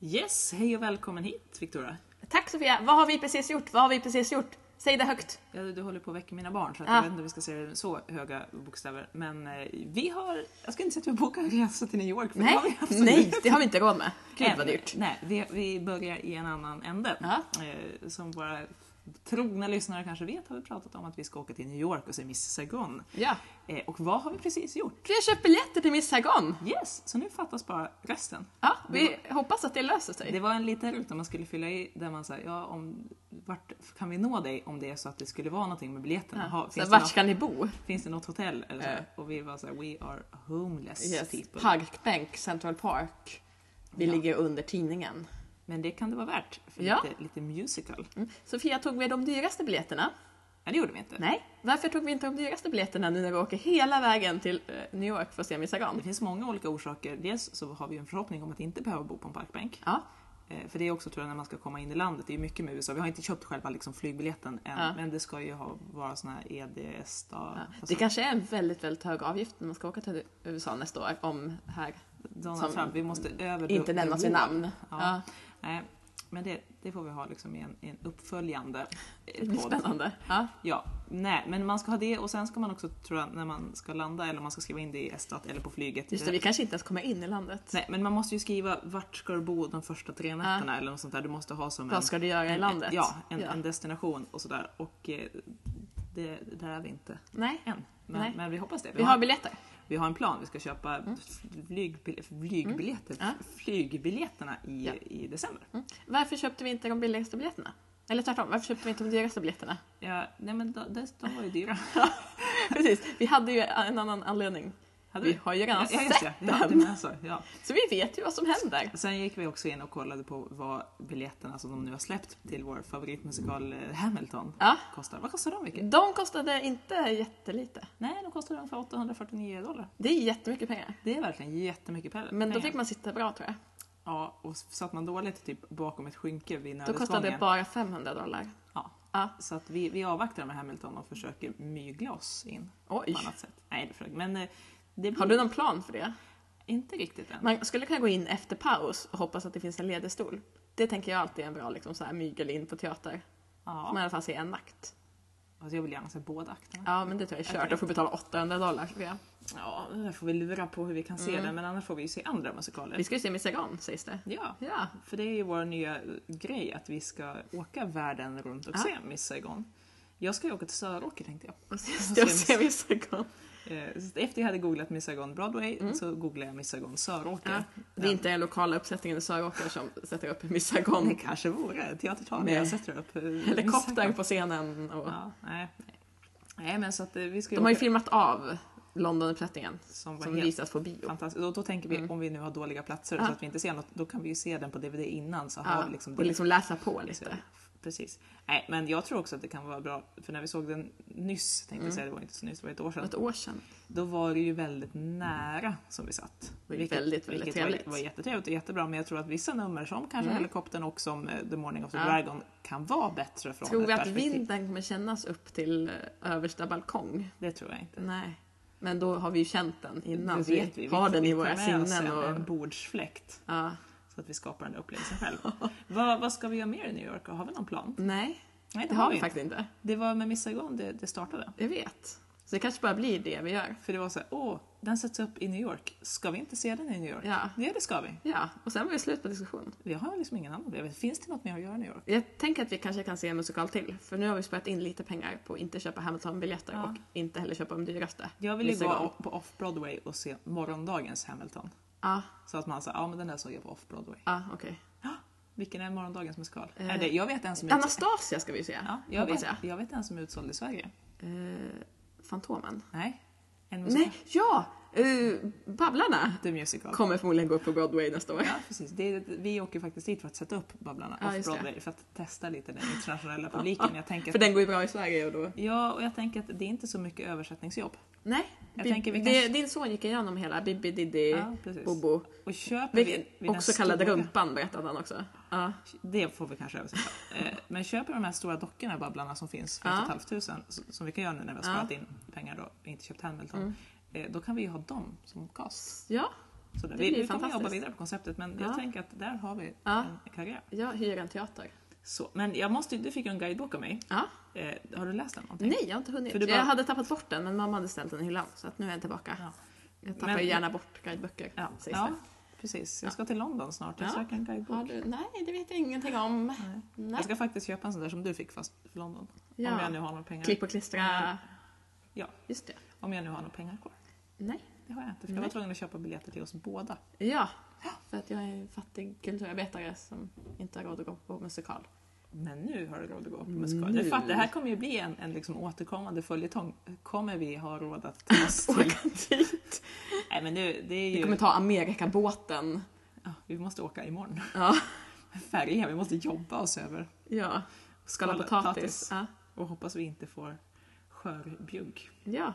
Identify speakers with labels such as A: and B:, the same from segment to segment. A: Yes, hej och välkommen hit Victoria.
B: Tack Sofia! Vad har vi precis gjort? Vad har vi precis gjort? Säg det högt!
A: Ja, du håller på att väcka mina barn så att
B: Ah.
A: jag vet inte om vi ska säga det med så höga bokstäver. Men eh, vi har, jag skulle inte säga att vi har bokat en resa till New York för det har vi
B: Nej,
A: absolut
B: nej, det har vi inte råd med. Gud
A: Än.
B: vad dyrt.
A: Nej, vi, vi börjar i en annan ände.
B: Ja.
A: Eh, som våra trogna lyssnare kanske vet har vi pratat om att vi ska åka till New York och se Miss Saigon.
B: Ja.
A: Eh, och vad har vi precis gjort?
B: Vi har köpt biljetter till Miss Saigon.
A: Yes, så nu fattas bara resten.
B: Ja, vi hoppas att det löser sig.
A: Det var en liten ruta man skulle fylla i där man sa, ja, om, vart kan vi nå dig om det är så att det skulle vara någonting med biljetterna? Ha,
B: Ja.
A: finns,
B: Så
A: det
B: vart
A: något,
B: ska ni bo?
A: finns det något hotell? Eller så?
B: Eh.
A: Och vi var så här, we are homeless
B: Yes.
A: people.
B: Parkbänk, Central Park. Vi
A: Ja.
B: ligger under tidningen.
A: Men det kan det vara värt för
B: Ja.
A: lite, lite musical.
B: Mm. Sofia, tog vi de dyraste biljetterna?
A: Nej, det gjorde vi inte.
B: Nej. Varför tog vi inte de dyraste biljetterna nu när vi åker hela vägen till eh, New York för att se Miss
A: Det
B: Saigon?
A: finns många olika orsaker. Dels så har vi ju en förhoppning om att inte behöva bo på en parkbänk.
B: Ja.
A: Eh, För det är också tror jag när man ska komma in i landet, det är ju mycket med USA. Vi har inte köpt själva liksom flygbiljetten än,
B: Ja.
A: men det ska ju ha, vara såna här EDS då,
B: Ja.
A: alltså,
B: Det kanske är en väldigt, väldigt hög avgift när man ska åka till USA nästa år om här
A: Donald
B: som mm,
A: Trump, vi måste över
B: inte
A: the-
B: nämnas vid
A: the wall.
B: namn.
A: Ja.
B: Ja.
A: Nej, men det, det får vi ha liksom i en, i en uppföljande eh,
B: Det blir
A: podd.
B: spännande. Ja.
A: Ja, nej, men man ska ha det och sen ska man också tror jag när man ska landa eller om man ska skriva in det i Estat eller på flyget.
B: Just det, vi kanske inte ens kommer in i landet.
A: eh, Nej, men man måste ju skriva vart ska du bo de första tre nätterna eller något sånt där. Du måste ha som en,
B: Vad ska du göra i
A: en,
B: landet?
A: Ja, en, en destination och sådär. Och eh, det, där är vi inte
B: Nej,
A: än. Men,
B: Nej.
A: men vi hoppas det. Vi,
B: vi har
A: har,
B: biljetter.
A: vi har en plan. Vi ska köpa flygbil, flygbiljetter,
B: Ja.
A: flygbiljetterna i,
B: Ja.
A: i december.
B: Varför köpte vi inte de billigaste biljetterna? Eller tvärtom, varför köpte vi inte de dyraste biljetterna?
A: Ja, nej men de, de, de var ju dyra.
B: Precis, vi hade ju en annan anledning.
A: Hade
B: Vi har ju redan
A: ja, ja, just
B: sett
A: det. Ja,
B: dem.
A: det menar jag så. Ja.
B: Så vi vet ju vad som händer.
A: Sen gick vi också in och kollade på vad biljetterna som de nu har släppt till vår favoritmusikal eh, Hamilton
B: Ja. Mm.
A: kostar. Vad kostar de mycket?
B: De kostade inte jättelite.
A: Nej, de kostar ungefär 849 dollar.
B: Det är jättemycket pengar.
A: Det är verkligen jättemycket pengar.
B: Men då fick man sitta bra tror jag.
A: Ja, och satt man dåligt typ bakom ett skynke vid
B: Då kostade det
A: nödutgången.
B: bara 500 dollar.
A: Ja.
B: Ja.
A: Så att vi, vi avvaktar med Hamilton och försöker mygla oss in
B: Oj.
A: på annat sätt. Nej, det försöker- men eh, det blir
B: Har du någon plan för det?
A: inte riktigt än.
B: Man skulle kunna gå in efter paus och hoppas att det finns en ledig stol. Det tänker jag alltid är en bra liksom, så här, mygel in på teater.
A: Ja.
B: Så man i alla fall ser en akt.
A: Alltså jag vill gärna se båda akterna.
B: Ja, men det tror jag är kört. Då får betala 800 dollar. Tror jag.
A: Ja, det där får vi lura på hur vi kan se den, men annars får vi ju se andra musikaler.
B: Mm. Vi ska ju se Miss Saigon, sägs det.
A: Ja,
B: Ja.
A: för det är ju vår nya grej att vi ska åka världen runt och
B: Ja.
A: se Miss Saigon. Jag ska ju åka till Söråker tänkte jag.
B: Just det, och se Miss Saigon.
A: Eh, så Efter jag hade googlat Miss Saigon Broadway så googlade jag Miss Saigon Söråker.
B: Ja. Mm. Ah, Det är
A: Den-
B: inte den lokala uppsättningen i Söråker som sätter upp Miss
A: Det
B: Saigon.
A: kanske vore teatertal.
B: Med
A: Jag sätter upp eh, Miss
B: Helikoptern
A: Saigon.
B: på scenen. Och...
A: Ja, nej. nej, men så att eh, vi ska ju
B: De har ju
A: åka-
B: filmat av Londonuppsättningen
A: som var
B: som
A: helt
B: visas på bio.
A: fantastiskt. Och då tänker vi
B: Mm. Ah.
A: om vi nu har dåliga platser
B: Ja.
A: så att vi inte ser något, då kan vi ju se den på DVD innan så har
B: Ja.
A: vi liksom
B: Och liksom läsa på lite.
A: Precis. Nej, men jag tror också att det kan vara bra, för när vi såg den nyss, tänkte jag säga, det var inte så nyss, det var ett år sedan,
B: Något Mm. år sedan.
A: då var det ju väldigt nära som vi satt.
B: Det var ju väldigt, väldigt
A: vilket
B: trevligt.
A: Var, var jättetrevligt och jättebra, men jag tror att vissa nummer, som kanske
B: Mm.
A: Helikoptern och som eh, The Morning of the
B: Ja.
A: Dragon, kan vara bättre från
B: Tror
A: ett
B: vi att
A: perspektiv.
B: vinden kommer kännas upp till eh, översta balkong?
A: Det tror jag inte.
B: Nej. Men då har vi ju känt den innan.
A: Det vet vi.
B: har
A: vi,
B: den
A: vi
B: i
A: tar
B: våra
A: med oss
B: sinnen.
A: en, en
B: Och...
A: bordsfläkt.
B: Ja.
A: Så att vi skapar den där upplevelsen själv. vad, vad ska vi göra mer i New York? Har vi någon plan?
B: Nej,
A: Nej,
B: det har vi
A: inte.
B: faktiskt inte.
A: Det var med Miss Saigon det, det startade.
B: Jag vet. Så det kanske bara blir det vi gör.
A: För det var så här, åh, den sätts upp i New York. Ska vi inte se den i New York?
B: Ja.
A: Ja, det ska vi.
B: Ja, och sen var det slut på diskussion.
A: Vi har liksom ingen annan. Jag vet, finns det något mer att göra i New York?
B: Jag tänker att vi kanske kan se en musikal till. För nu har vi sparat in lite pengar på att inte köpa Hamilton-biljetter
A: Ja.
B: och inte heller köpa de dyraste.
A: Jag vill ju
B: Vissa
A: gå
B: gång.
A: på Off-Broadway och se morgondagens Hamilton.
B: Ja,
A: Så att man säger, ja men den där såg jag på Off-Broadway.
B: ja okej.
A: Vilken är morgondagens musikal?
B: Eh,
A: Är det, jag vet en som är utsåld.
B: Anastasia ska vi ju se,
A: Ja, jag,
B: hoppas
A: vet,
B: jag.
A: jag vet en som är utsåld i Sverige.
B: Eh, Fantomen?
A: Nej. En musikal.
B: Nej, ja! Eh, Babblarna
A: The Musical.
B: kommer förmodligen gå på Broadway nästa år.
A: Ja, precis. Det är, vi åker faktiskt dit för att sätta upp Babblarna
B: Ja, just det.
A: Off-Broadway för att testa lite den internationella publiken. Jag tänker
B: För
A: att,
B: den går ju bra i Sverige och då...
A: ja, och jag tänker att det är inte så mycket översättningsjobb.
B: Nej,
A: Jag
B: Bi-
A: tänker vi
B: det,
A: kanske-
B: din son gick igenom hela Bibi Diddi,
A: Ja, precis.
B: Bobo.
A: Och köper
B: Vilket
A: vi, vi den
B: också kallade
A: stora-
B: Rumpan berättade han också. Ja.
A: Det får vi kanske översätta. Eh, Men köper de här stora dockorna, Babblarna, som finns för
B: Ja.
A: 1 500 s- som vi kan göra nu när vi har
B: Ja. Mm.
A: sparat in pengar då, inte köpt Hamilton. eh, Då kan vi ju ha dem som cast.
B: ja,
A: Så där.
B: Det
A: Vi,
B: blir
A: vi kommer jobba
B: fantastiskt.
A: vidare på konceptet men
B: Ja.
A: jag tänker att där har vi
B: Ja.
A: en karriär.
B: Jag hyr en teater.
A: Så, men jag måste, du fick ju en guidebok av mig.
B: Ja.
A: Eh, har du läst den någonting?
B: Nej, jag har inte hunnit.
A: För du bara-
B: Jag hade tappat bort den, men mamma hade ställt den i hyllan. Så att nu är jag tillbaka.
A: Ja.
B: Jag tappar
A: Men-
B: ju gärna bort guideböcker,
A: Ja,
B: sägs
A: ja
B: det.
A: precis. Jag ska till London snart. Jag
B: Ja.
A: söker en
B: Har
A: guidebok.
B: du... Nej, det vet jag ingenting om. Nej.
A: Jag ska faktiskt köpa en sån där som du fick fast för London. Om
B: Ja.
A: jag nu har några pengar.
B: Klipp och klistra.
A: Ja,
B: Just det.
A: om jag nu har några pengar kvar.
B: Nej.
A: Det har jag inte. För jag var
B: Nej.
A: tvungen att köpa biljetter till oss båda.
B: Ja, för att jag är en fattig kulturarbetare som inte har råd att gå på musikal.
A: Men nu har du råd att
B: Mm.
A: gå på musikal. Jag fattar, det här kommer ju bli en, en liksom återkommande följetong. Kommer vi ha råd att ta oss till...
B: Åka dit.
A: Nej men nu, det är
B: Vi kommer
A: ju...
B: ta Amerikabåten.
A: Ja, vi måste åka imorgon.
B: Ja.
A: Färja, vi måste jobba oss över.
B: ja. Skala
A: Skala
B: potatis.
A: potatis.
B: Ja.
A: Och hoppas vi inte får skörbjugg.
B: ja.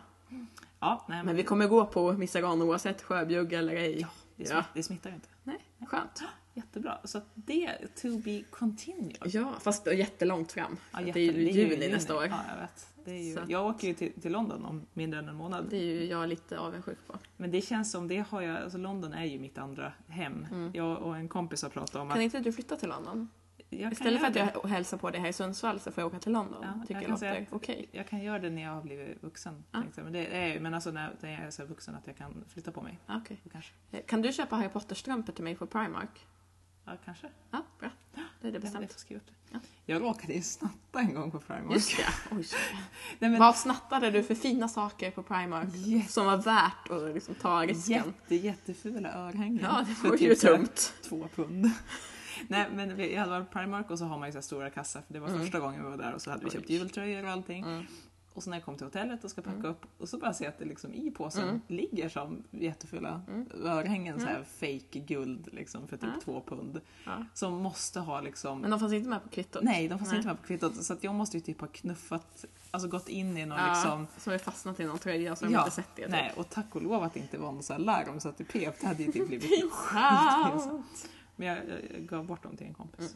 A: Ja, nej men...
B: Men vi kommer gå på Missagon oavsett sjöbjugg eller ej.
A: det,
B: Ja.
A: smittar, det smittar ju inte.
B: Nej, skönt.
A: Jättebra. Så att det, to be continued.
B: Ja, fast då jättelångt fram.
A: Ja,
B: För att
A: jätte-
B: det är ju
A: ju
B: juni, nästa år.
A: Ja, jag vet. Det är ju,
B: Så att-
A: jag åker ju till, till London om mindre än en månad.
B: Det är ju jag lite avundsjuk på.
A: Men det känns som, det har jag, alltså London är ju mitt andra hem. Jag och en kompis har pratat om att...
B: Mm. Kan inte du flytta till London?
A: jag kan
B: Istället för att
A: göra det.
B: jag hälsar på dig här i Sundsvall så får jag åka till London.
A: Ja,
B: Tycker
A: jag
B: jag,
A: kan säga
B: låter
A: att-
B: okej.
A: Jag kan göra det när jag har blivit vuxen.
B: Ja.
A: tänkte jag. Men det är jag ju, men alltså när, när jag är så här vuxen att jag kan flytta på mig.
B: Ja, okej.
A: Kanske.
B: Eh, Kan du köpa Harry Potter-strumpor till mig på Primark?
A: Ja, kanske.
B: Ja, bra. Då är det
A: Jag
B: bestämt.
A: får skriva upp det.
B: Ja.
A: Jag råkade ju snatta en gång på Primark.
B: Just det. Oj.
A: Nej, men
B: Vad snattade du för fina saker på Primark
A: Jätte-
B: som var värt att liksom ta risken?
A: jätte, jättefula örhängen.
B: Ja, det
A: För
B: var ju
A: typ så här-
B: dumt.
A: två pund. Nej men vi- jag hade varit på Primark och så har man ju så här stora kassar för det var första gången vi var där och så hade vi köpt
B: Oj.
A: jultröjor och allting.
B: Mm.
A: Och så när jag kom till hotellet och ska packa upp och så bara ser jag att det liksom i påsen
B: Mm.
A: ligger som jättefulla örhängen så här fake guld liksom för typ
B: Ja.
A: två pund.
B: Mm. Ja.
A: Som måste ha liksom
B: Men de fanns inte med på kvittot?
A: Nej, de fanns inte med på kvittot så att jag måste ju typ ha knuffat, alltså gått in i någon
B: Ja,
A: liksom
B: Som är fastnat i någon tröja som de inte sett det. typ.
A: nej, och tack och lov att det inte var någon så här larm så att det pep, det hade ju typ blivit
B: Pinsamt.
A: Men jag, jag, jag gav bort dem till en
B: Mm.
A: kompis.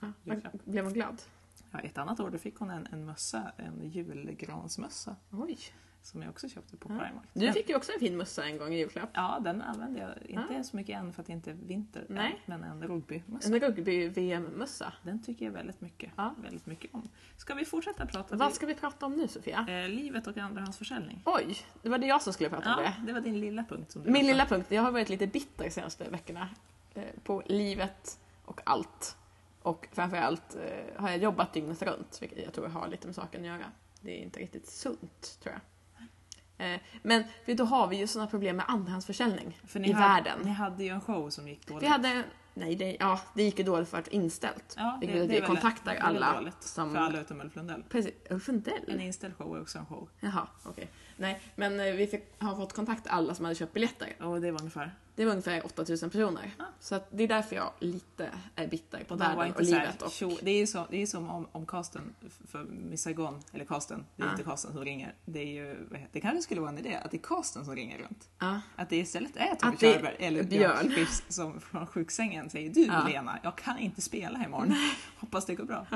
B: Ja, vad- Blev hon glad?
A: Ja, ett annat år då fick hon en, en mössa, en julgransmössa
B: Oj.
A: som jag också köpte på
B: Ja.
A: Primark.
B: Mm. Du
A: Den-
B: fick ju också en fin mössa en gång i julklapp.
A: Ja, den använde jag. Inte så mycket än för att det inte är vinter än,
B: Mm. Nej.
A: men en rugbymössa.
B: En rugby-VM-mössa.
A: Den tycker jag väldigt mycket,
B: Ja.
A: väldigt mycket om. Ska vi fortsätta prata
B: Vad ska vi prata om nu Sofia?
A: eh, livet och andrahandsförsäljning?
B: Oj, det var det jag som skulle prata om
A: Ja,
B: det.
A: det var din lilla punkt. Som du
B: Min
A: pratade
B: lilla punkt, jag har varit lite bitter de senaste veckorna. eh, På livet och allt. Och framförallt eh, har jag jobbat dygnet runt, vilket jag tror har lite med saken att göra. Det är inte riktigt sunt, tror jag. Eh, Men vet du, då har vi ju sådana problem med andrahandsförsäljning
A: om. För ni
B: i
A: hade,
B: världen.
A: Ni hade ju en show som gick dåligt.
B: Vi hade... Nej, det, ja, det gick ju dåligt för att det var inställt.
A: ja,
B: vilket vi
A: väl-
B: kontaktar
A: det är väl
B: alla
A: dåligt
B: som-
A: För alla utom Ulf Lundell.
B: Precis, Ulf Lundell?
A: En inställd show är också en show.
B: Jaha, okej. Nej, men eh, vi fick, har fått kontakt alla som hade köpt biljetter.
A: Och det var ungefär.
B: Det var ungefär 8000 personer.
A: Ja.
B: Så att det är därför jag lite är bitter på
A: Och de Ah. var
B: världen och
A: inte så här,
B: livet. Och,
A: tjo- det, är ju så, det är ju som om, om casten f- för Miss Saigon, eller casten, det är
B: Ja.
A: inte casten som ringer. Det, är ju, vad heter- det kanske skulle vara en idé att det är casten som ringer runt.
B: ja,
A: Att det istället är Tommy
B: Att det är
A: Körberg eller
B: Björn.
A: Björn Skifs som från sjuksängen säger Du
B: Ja.
A: Lena, jag kan inte spela imorgon. Hoppas det går bra.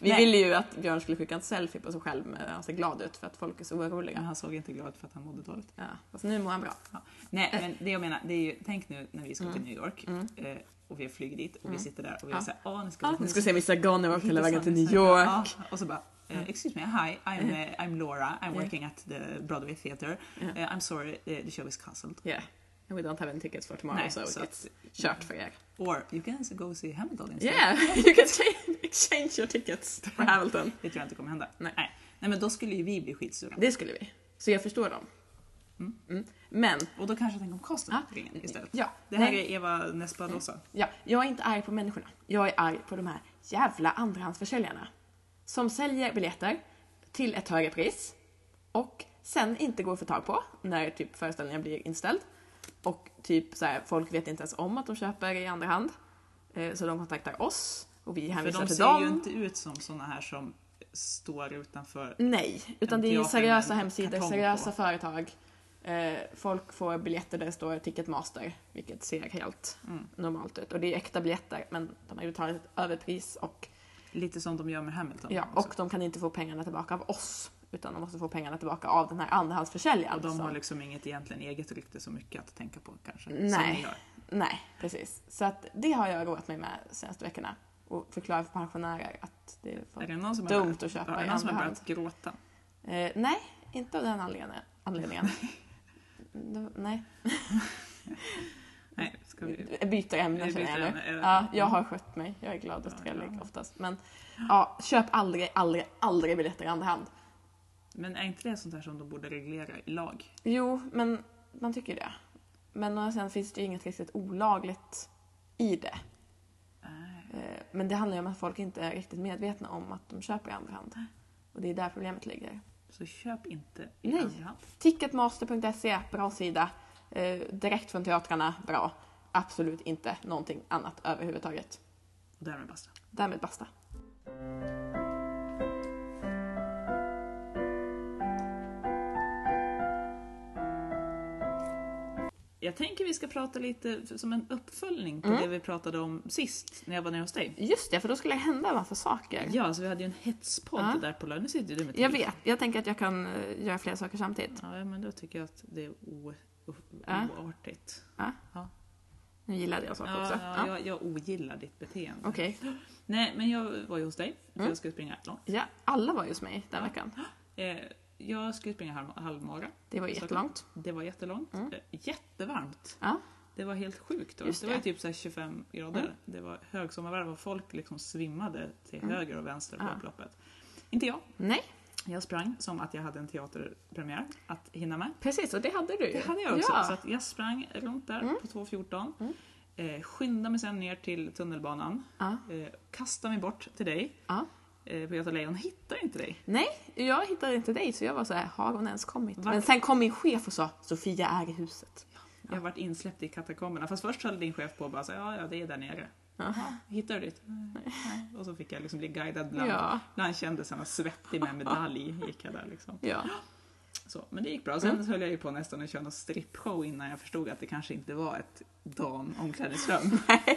B: vi
A: Nej.
B: ville ju att Björn skulle skicka en selfie på sig själv med han ser glad ut för att folk är så
A: Men
B: oroliga.
A: han såg inte glad ut för att han mådde dåligt.
B: Ja, fast nu mår han bra.
A: Ja. Nej, men det jag menar, det är ju, tänk nu när vi ska till New York
B: Mm.
A: eh, och vi flyger dit och vi sitter där och vi
B: Ja.
A: är såhär, åh nu ska vi
B: Ja,
A: till
B: nu
A: New
B: ska vi se Missa Gunnerwalk hela vägen till New York.
A: Ja, och så bara, eh, excuse me, hi, I'm, eh, I'm Laura, I'm working at the Broadway Theatre.
B: Yeah.
A: Eh, I'm sorry, eh, the show is cancelled.
B: Yeah. And we don't have any tickets for tomorrow
A: Nej,
B: so
A: så
B: it's kört för er.
A: Or you can go see Hamilton instead.
B: Yeah, you can change- exchange your tickets for Hamilton.
A: Det tror jag inte kommer hända.
B: Nej.
A: Nej. Nej, men då skulle ju vi bli skitsura.
B: Det skulle vi. Så jag förstår dem.
A: Mm. Ah,
B: Mm. Men,
A: Och då kanske jag tänker om casten
B: Ja.
A: ringer istället.
B: Ah. ja,
A: Det här
B: nej, Eh.
A: är Eva Nesbadosa.
B: ja, jag är inte arg på människorna. Jag är arg på de här jävla andrahandsförsäljarna. Som säljer biljetter till ett högre pris och sen inte går att få tag på när typ föreställningen blir inställd. Och typ så här, folk vet inte ens om att de köper i andra hand. Eh, Så de kontaktar oss och vi
A: För
B: hänvisar
A: de
B: till
A: ser
B: dem.
A: ju inte ut som såna här som står utanför.
B: Nej, utan det är ju
A: teater
B: seriösa
A: med en
B: hemsidor,
A: kartong
B: seriösa
A: på.
B: företag. Eh, folk får biljetter där det står Ticketmaster, vilket ser helt
A: Mm.
B: normalt ut. Och det är äkta biljetter, men de har ju betalat ett överpris och,
A: Lite som de gör med Hamilton. Alltså,
B: ja, och de kan inte få pengarna tillbaka av oss. Utan de måste få pengarna tillbaka av den här andrahandsförsäljaren. alltså.
A: Och de
B: som-
A: har liksom inget egentligen eget rykte så mycket att tänka på kanske. Som ni
B: Nej.
A: gör.
B: Nej, precis. Så att det har jag roat mig med de senaste veckorna. Och förklara för pensionärer att det är för...
A: Är det någon som har
B: Dumt
A: börjat-
B: att köpa
A: ja, är
B: i
A: det någon som har
B: andra
A: börjat gråta?
B: Eh, nej, inte av den anledningen. anledningen. Det, nej.
A: Nej, ska vi...
B: Jag byter ämne
A: Vi
B: känner
A: byter
B: jag
A: ämne, är
B: nu.
A: det-
B: Ja, jag har skött mig. Jag är glad och
A: Ja,
B: trevlig
A: ja.
B: oftast. Men ja, köp aldrig, aldrig, aldrig biljetter i andra hand.
A: Men är inte det sånt där som de borde reglera i lag?
B: Jo, men man tycker det. Men och sen finns det ju inget riktigt olagligt i det.
A: Nej.
B: Eh, Men det handlar ju om att folk inte är riktigt medvetna om att de köper i andra hand. Och det är där problemet ligger.
A: Så köp inte i
B: Nej.
A: andra hand.
B: Ticketmaster.se, bra sida. Eh, direkt från teatrarna, bra. Absolut inte någonting annat överhuvudtaget.
A: Och därmed basta.
B: Därmed basta.
A: Jag tänker vi ska prata lite som en uppföljning på
B: Mm.
A: det vi pratade om sist när jag var nere hos dig.
B: Just det, för då skulle det hända en massa saker.
A: Ja, så vi hade ju en hetspodd
B: Ja.
A: där på lördag. Nu sitter ju du med
B: Jag
A: tid.
B: vet, jag tänker att jag kan eh, göra flera saker samtidigt.
A: Ja, men då tycker jag att det är o- o-
B: Ja.
A: oartigt.
B: Nu gillade jag saker
A: Ja,
B: också.
A: ja,
B: Ja.
A: Jag, jag ogillar ditt beteende.
B: Okej.
A: Nej, men jag var ju hos dig, för
B: Mm.
A: jag skulle springa långt.
B: Ja, alla var ju hos mig den
A: Ja.
B: veckan.
A: Eh, jag skulle springa halv, halvmara.
B: Det var ju
A: Stockholm.
B: jättelångt.
A: Det var jättelångt.
B: Mm.
A: Eh, Jättevarmt.
B: Ja.
A: Det var helt sjukt. Då.
B: Just
A: Det var ju
B: det.
A: typ så här 25 grader.
B: Mm.
A: Det var högsommarvärme och folk liksom svimmade till
B: Mm.
A: höger och vänster på
B: Ja.
A: upploppet. Inte jag.
B: Nej,
A: Jag sprang som att jag hade en teaterpremiär att hinna med.
B: precis. Och det hade du ju.
A: Det hade jag också.
B: Ja.
A: Så att jag sprang runt där
B: Mm.
A: på 2.14.
B: Mm.
A: Eh, skyndade mig sen ner till tunnelbanan.
B: Ja.
A: Eh, kastade mig bort till dig
B: Ja.
A: eh, på Göta Lejon. Hittar inte dig.
B: Nej, jag hittade inte dig så jag var så här, har hon ens kommit?
A: Va?
B: Men sen kom min chef och sa, Sofia är i huset.
A: Jag har varit insläppt i katakomberna. Fast först höll din chef på och bara så, ja, ja det är där nere.
B: Ja.
A: Jaha, Hittar du dit? Nej. nej." Och så fick jag liksom bli guidad bland,
B: Mm, Ja,
A: bland kändisarna. Svettig med medalj gick jag där liksom.
B: ja.
A: Så, men det gick bra. Sen
B: Mm.
A: höll jag ju på nästan att köra någon strippshow innan jag förstod att det kanske inte var ett damomklädningsrum.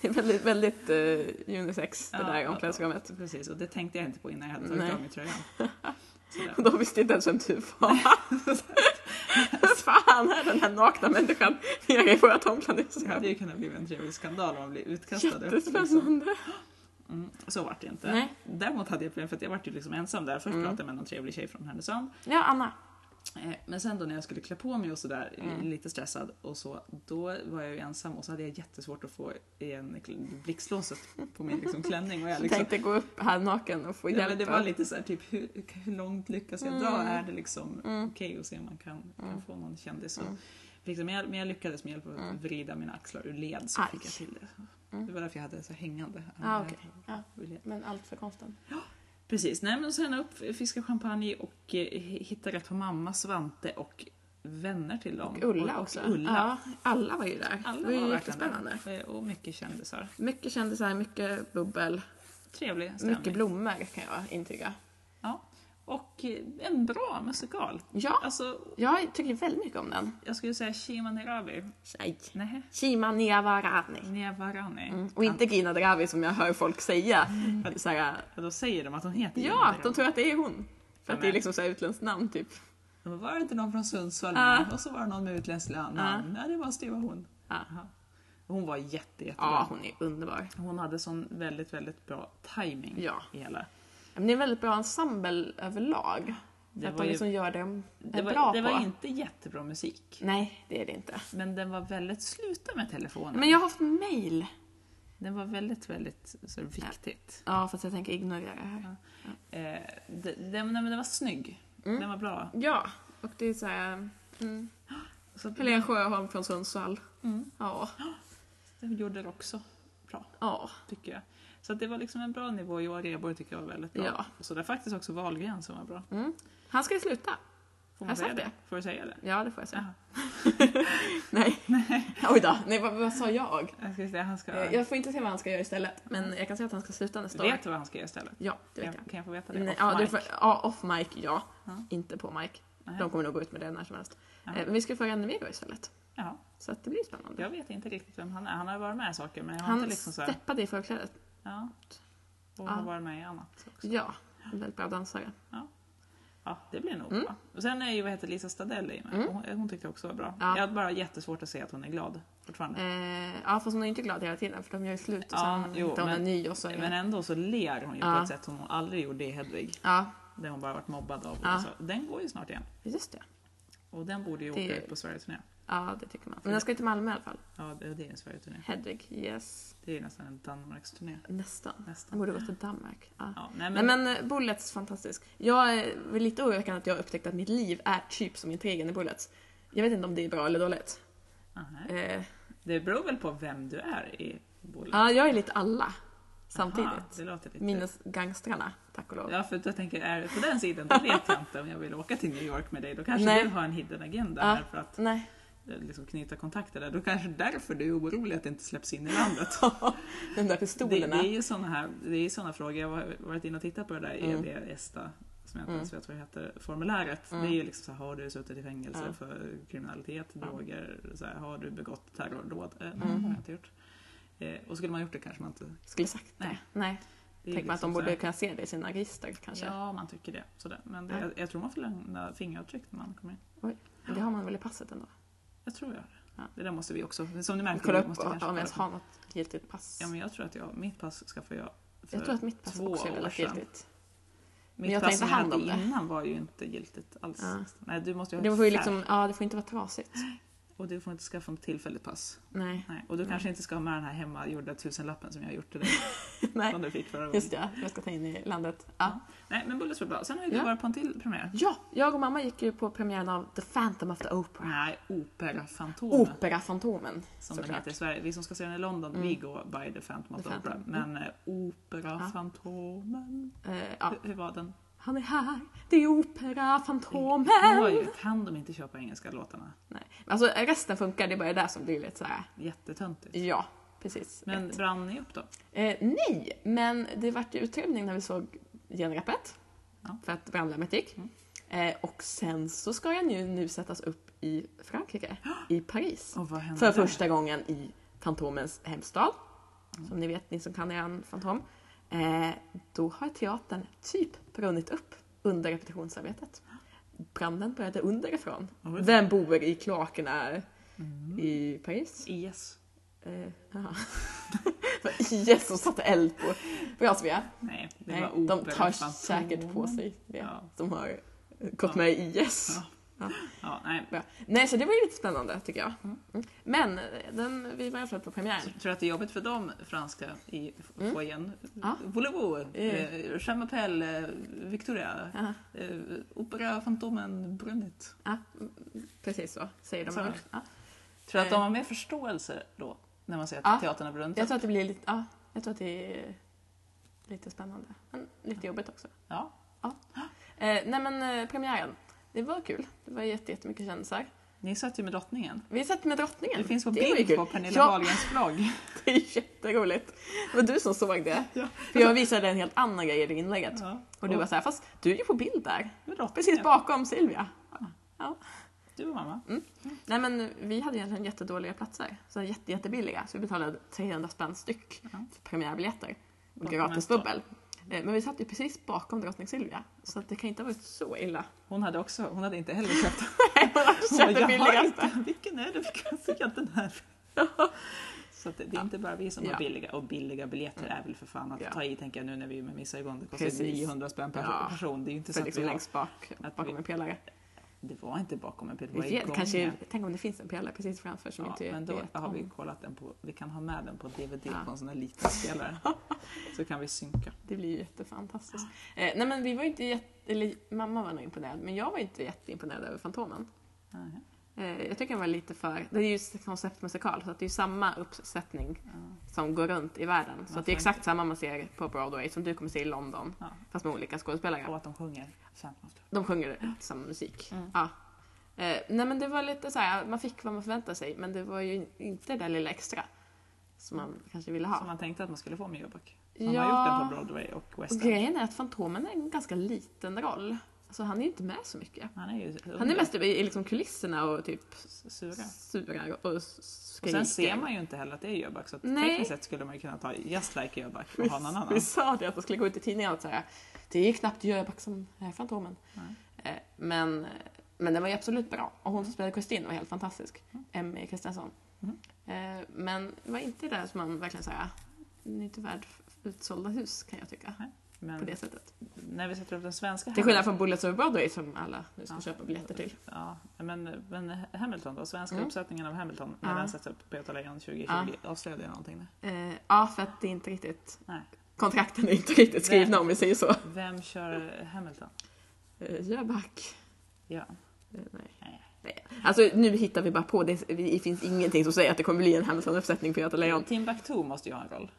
B: Det är väldigt, väldigt eh, unisex det
A: Ja,
B: där
A: ja,
B: omklädningsrummet.
A: Så Precis, och det tänkte jag inte på innan jag hade tagit
B: Nej.
A: av mig tröjan. Sådär.
B: Och då visste inte ens vem du var. Hur fan är den här nakna människan nere i vårt
A: Det hade
B: omklädningsrum?
A: ju kunnat bli en trevlig skandal om man blev utkastad. liksom.
B: Jättespännande.
A: Mm, så vart det inte.
B: Nej.
A: Däremot hade jag problem för att jag vart ju liksom ensam där. Först
B: Mm.
A: pratade jag med någon trevlig tjej från Härnösand.
B: Ja, Anna.
A: Eh, Men sen då när jag skulle klä på mig och sådär, eh,
B: Mm.
A: lite stressad och så, då var jag ju ensam och så hade jag jättesvårt att få igen kl- blixtlåset på min liksom, klänning. Och jag liksom,
B: Tänkte gå upp här naken och få
A: ja,
B: hjälp.
A: men det var lite såhär, typ hur, hur långt lyckas jag dra?
B: Mm.
A: Är det liksom
B: Mm.
A: okej att se om man kan, kan
B: Mm.
A: få någon kändis?
B: Mm.
A: Och, liksom, men, jag, men jag lyckades med hjälp av
B: Mm.
A: att vrida mina axlar ur led så
B: Aj.
A: fick jag till det.
B: Mm.
A: Det var därför jag hade så hängande.
B: Ah, okej. Ja,
A: ur led.
B: men allt för konsten.
A: Precis, nej men sen upp, fiska champagne och eh, hitta rätt på mamma, Svante och vänner till dem.
B: Och Ulla också.
A: Och, och Ulla.
B: Ja, alla var ju där.
A: Alla var
B: det var ju
A: verkligen
B: jättespännande.
A: Eh, Och mycket kändisar.
B: Mycket kändisar, mycket bubbel.
A: Trevlig stämning.
B: Mycket blommor kan jag intyga.
A: ja. Och eh, en bra musikal.
B: Ja,
A: Alltså,
B: jag tycker väldigt mycket om den.
A: jag skulle säga Shima Neravi.
B: Nej.
A: Nej,
B: Shima Niavarani.
A: Nevarani.
B: Mm. Och inte Gina Dravi som jag hör folk säga. Så här,
A: Ja, då säger Mm. de att hon heter
B: ja,
A: Shima
B: de tror att det är hon. För att det är
A: Amen.
B: liksom så här utländskt namn typ.
A: Men Var det inte någon från Sundsvall?
B: Ah.
A: Och så var det någon med utländskt land.
B: Ah.
A: Nej, det måste ju vara hon.
B: Ah.
A: Jaha. Hon var jätte, jättebra.
B: Ja, hon är underbar.
A: Hon hade sån väldigt, väldigt bra timing
B: Ja.
A: i hela.
B: Men det är en väldigt bra ensemble överlag.
A: Det
B: att
A: var
B: de
A: ju-
B: liksom gör det de är
A: Det
B: bra
A: var, det
B: på.
A: var inte jättebra musik.
B: Nej, det är det inte.
A: Men den var väldigt, sluta med telefonen.
B: Men jag har haft mail.
A: Den var väldigt, väldigt så här, viktigt.
B: Ja, fast jag tänker ignorera det här.
A: Eh, det- den, nej, men den var snygg.
B: Mm.
A: Den var bra.
B: Ja, och det är så här... Mm.
A: Så att,
B: Helena Sjöholm från Sundsvall.
A: mm,
B: Ja.
A: den gjorde det också bra,
B: Ja.
A: tycker jag. Så att det var liksom en bra nivå. Johan Rheborg tycker jag var väldigt bra.
B: Ja.
A: Och så det är faktiskt också Wahlgren som var bra.
B: Mm. Han ska ju sluta.
A: Får
B: Har
A: man
B: jag
A: säga
B: sagt
A: det?
B: det?
A: Får du säga det?
B: Ja, det får jag säga.
A: Jaha.
B: Nej. Oj då. Nej, vad, vad sa jag?
A: Jag ska säga, han ska...
B: Eh, Jag får inte se vad han ska göra istället. Men jag kan säga att han ska sluta nästa år.
A: Vet du vad han ska göra istället?
B: Ja, det vet
A: Kan
B: jag.
A: jag, kan jag få veta det?
B: Nej,
A: Off
B: ja, du
A: mic.
B: får, ja, off mic, ja.
A: Ja.
B: Inte på mic.
A: Nej.
B: De kommer nog gå ut med det när som helst.
A: Ja.
B: Eh, Men vi ska få Rennevego istället.
A: Jaha.
B: Så att det blir spännande.
A: Jag vet inte riktigt vem han är. Han har varit med i saker men jag har
B: Han
A: inte liksom så här...
B: steppade i förklädet.
A: Ja. Och
B: Ja. Mm.
A: han har varit med i annat också.
B: Ja, en väldigt bra dansare.
A: Ja, Ja, det blir
B: Mm.
A: nog bra. Och sen är ju vad heter Lisa Stadell i med. och Hon, hon tyckte jag också var bra.
B: Ja.
A: Jag har bara jättesvårt att se att hon är glad fortfarande.
B: Eh, ja, fast hon är inte glad hela tiden för de gör ju slut och
A: Mm. Ja,
B: sen
A: jo,
B: hittar hon
A: men-
B: en ny och så...
A: Men ändå så ler hon ju på
B: Ja.
A: ett sätt som hon aldrig gjorde i Hedvig.
B: Ja,
A: Där hon bara varit mobbad av.
B: Ja.
A: Och så. Den går ju snart igen.
B: just det.
A: Och den borde ju åka
B: Det-
A: ut på Sverigeturné.
B: Ja, det tycker man. Men den ska ju till Malmö i alla fall.
A: Ja, det det är en Sverigeturné.
B: Hedvig, yes.
A: Det är nästan en Danmarksturné.
B: Nästan.
A: Nästan.
B: Den borde gå till Danmark. Ja.
A: Ja, nej,
B: Mm. Nej
A: men,
B: men eh, Bullets fantastisk. Jag eh, är väl lite oroväckande att jag har upptäckt att mitt liv är typ som intrigen i Bullets. Jag vet inte om det är bra eller dåligt.
A: Aha.
B: Eh,
A: Det beror väl på vem du är i bollen.
B: ja, jag är lite alla samtidigt.
A: det låter lite...
B: Minus gangstrarna, tack och lov.
A: Ja, för jag tänker, är du på den sidan, då vet jag inte om jag vill åka till New York med dig. Då kanske
B: Nej.
A: du har en hidden agenda
B: Ja.
A: här för att
B: Nej.
A: eh, liksom, knyta kontakter där. Då kanske därför du är orolig att det inte släpps in i landet.
B: De
A: Det,
B: där
A: det
B: pistolerna.
A: är ju sådana här, det är ju såna frågor, jag har varit inne och tittat på det där E
B: Mm.
A: EB-ESTA, som jag inte ens vet vad det heter, formuläret. Det är ju liksom så här, har du suttit i fängelse
B: Mm. Ja.
A: för kriminalitet,
B: Ja.
A: droger, så här, har du begått terrordåd? Eh, nej,
B: Mm.
A: det har jag inte gjort. Eh, och skulle man gjort det kanske man inte... det är
B: Skulle sagt det.
A: Nej.
B: Nej. Tänk man att de
A: liksom så
B: borde
A: här-
B: kunna se det i sina register kanske.
A: Ja, man tycker det. Sådär. Men det,
B: Ja.
A: jag, jag tror man får lämna fingeravtryck när man kommer in.
B: Men Det har man väl i passet ändå?
A: Jag tror jag.
B: Ja.
A: Det där måste vi också, som du märker,
B: Kolla
A: vi
B: upp
A: måste
B: om
A: kanske
B: jag ens
A: kolla
B: har
A: upp.
B: något giltigt pass.
A: Ja, men jag tror att jag, mitt pass skaffade jag för
B: jag tror att mitt pass
A: två
B: också är
A: år
B: väldigt
A: sedan.
B: giltigt. Men
A: Mitt
B: jag
A: pass
B: tänkte
A: som jag
B: hand
A: hade
B: om det.
A: innan var ju inte giltigt alls.
B: Ja.
A: Nej, du måste ju ha
B: Det
A: ett
B: får ju
A: färskt.
B: liksom, ja det får inte vara trasigt.
A: Och du får inte skaffa ett tillfälligt pass.
B: Nej.
A: Nej. Och du
B: Nej.
A: kanske inte ska ha med den här hemmagjorda tusenlappen som jag har gjort till dig.
B: Nej.
A: Som du fick förra gången.
B: Just det, ja. jag ska ta in i landet. Ja.
A: Nej, men Bullets var bra. Sen har ju du
B: Ja.
A: varit på en till premiär.
B: ja, jag och mamma gick ju på premiären av The Phantom of the Opera.
A: Nej, Opera Fantomen.
B: Operafantomen,
A: som den
B: såklart. Mm.
A: heter i Sverige. Vi som ska se den i London, vi går by The Phantom of
B: The
A: the Opera.
B: Phantom.
A: Men eh, Opera
B: Ja.
A: Fantomen.
B: Eh, ja.
A: Hur, hur var den?
B: Han är här, det är Operafantomen.
A: Oj, kan de inte köpa engelska låtarna?
B: Nej. Alltså resten funkar, det är bara det där som blir lite såhär,
A: Jättetöntigt.
B: ja, precis.
A: Men
B: Ett.
A: brann ni upp då?
B: Eh, nej, men det vart ju utrymning när vi såg genrepet.
A: Ja. Mm.
B: För att brandlarmet gick. Eh, och sen så ska den ju nu sättas upp i Frankrike, i Paris.
A: Och vad hände
B: För
A: där?
B: första gången i Fantomens hemstad.
A: Mm.
B: Som ni vet, ni som kan eran Fantom. Eh, då har teatern typ brunnit upp under repetitionsarbetet. Branden började underifrån.
A: Oj.
B: Vem bor i kloakerna
A: Mm.
B: i Paris?
A: IS?
B: Eh, jaha. IS som satte eld på Brasvea.
A: Nej, det
B: Nej,
A: var Opera
B: de tar
A: Fantomen.
B: säkert på sig det.
A: Ja.
B: De har gått med i IS.
A: Ja. Ja, nej.
B: Bra. Nej, så det var ju lite spännande tycker jag. Mm. Men eh, den, vi var i alla fall på premiären.
A: Jag tror att det är jobbigt för dem, franska, i f-
B: Mm.
A: foajén.
B: Ja.
A: Voulez-vous,
B: Eh.
A: eh, Jean Mappel, eh, Victoria,
B: Ja,
A: eh, Opera Fantomen brunnit.
B: ja, mm, precis så säger de.
A: Så.
B: här. Ja.
A: Tror du att de
B: Eh.
A: har mer förståelse då? När man säger att
B: Ja.
A: teatern har brunnit?
B: Jag
A: upp?
B: tror att det blir lite, ja, jag tror att det är lite spännande. Men lite jobbigt också.
A: Ja.
B: Eh, nej men eh, premiären, det var kul. Det var jätte- jättemycket kändisar.
A: Ni satt ju med drottningen.
B: Vi satt med drottningen.
A: Det finns på
B: var ju
A: bild
B: kul.
A: på Pernilla
B: Ja.
A: Wahlgrens blogg.
B: Det är jätteroligt. Det var du som såg det.
A: Ja.
B: För jag visade en helt annan grej i det inlägget.
A: Ja.
B: Och du var såhär, fast du är ju på bild där.
A: med drottningen.
B: Precis bakom Silvia.
A: Du och mamma.
B: Nej men vi hade egentligen jättedåliga platser. Så jätte, jättebilliga. Så vi betalade 300 spänn styck
A: Ja.
B: för premiärbiljetter. Och
A: Bakom
B: gratis
A: en
B: bubbel. Eh, Men vi satt ju precis bakom drottning Silvia. Så att det kan inte ha varit så illa.
A: Hon hade också, hon hade inte heller köpt.
B: Nej, men
A: Hon
B: alltså,
A: bara,
B: köpte
A: "Jag har
B: billigaste.
A: inte, vilken är det? Vi kan se den här. Så att det, det är inte bara vi som har
B: Ja.
A: billiga, och billiga biljetter är väl för fan att
B: Ja.
A: ta i tänker jag nu när vi är med Missargon. Det kostar
B: Precis.
A: 900 spänn per
B: Ja.
A: person. Det är ju inte så
B: För
A: att
B: liksom
A: vi har-
B: längst bak,
A: att
B: bakom
A: vi-
B: en pelare.
A: Det var inte bakom en bild, det var i
B: Det kanske,
A: gången.
B: tänk om det finns en pelare precis framför som
A: Ja,
B: inte
A: men då
B: vet
A: har
B: om.
A: vi kollat den på, vi kan ha med den på DVD
B: Ja.
A: på en sån där liten spelare. Så kan vi synka.
B: Det blir ju jättefantastiskt. Eh, nej men vi var ju inte jätte, eller mamma var nog imponerad, men jag var inte jätteimponerad över Fantomen.
A: Nej.
B: Eh, jag tycker den var lite för, det är ju s- konceptmusikal så att det är ju samma uppsättning
A: Ja.
B: som går runt i världen. Så
A: Man
B: att det är
A: får
B: exakt samma man ser på Broadway som du kommer se i London,
A: Ja.
B: fast med olika skådespelare.
A: Och att de sjunger Phantom of the
B: De sjunger samma musik.
A: Mm.
B: Ja. Eh, nej men det var lite så här, man fick vad man förväntade sig, men det var ju inte det där lilla extra som man kanske ville ha.
A: Som man tänkte att man skulle få med Jöback. Han har
B: Ja.
A: gjort den på Broadway och West
B: Och
A: End.
B: grejen är att Fantomen är en ganska liten roll. Alltså han är ju inte med så mycket.
A: Han är ju
B: Han är mest i i liksom kulisserna och typ
A: sura.
B: surar och s-
A: Och
B: skriker.
A: sen ser man ju inte heller att det är Jöback så att
B: Nej.
A: tekniskt sett skulle man ju kunna ta Just Like Jöback och
B: vi,
A: ha någon annan.
B: vi sa det att det skulle gå ut i tidningarna och säga det är knappt Jöback som är eh, Fantomen.
A: Nej.
B: Eh, Men, men den var ju absolut bra. Och hon som spelade Kristin var helt fantastisk.
A: Mm.
B: Emmy Kristensson. Eh, Men det var inte det där som man verkligen säger, ni är inte värd utsålda hus kan jag tycka. På
A: Men
B: det sättet.
A: när vi sätter upp den svenska
B: Till skillnad från Bullets Over Broadway som alla nu ska köpa biljetter till.
A: Ja, men, men Hamilton då? Svenska
B: Mm.
A: uppsättningen av Hamilton när
B: Ja.
A: den sätts upp på Göta Lejon 2020 avslöjade jag någonting där.
B: Eh, ja, för att det är inte riktigt...
A: Nej.
B: Kontrakten är inte riktigt skrivna om vi säger så.
A: Vem kör Hamilton?
B: Eh, Jöback.
A: Ja.
B: Eh, nej.
A: Nej.
B: Nej. Alltså nu hittar vi bara på, det, det finns ingenting som säger att det kommer bli en Hamilton-uppsättning på Göta Lejon.
A: Timbuktu måste ju ha en roll.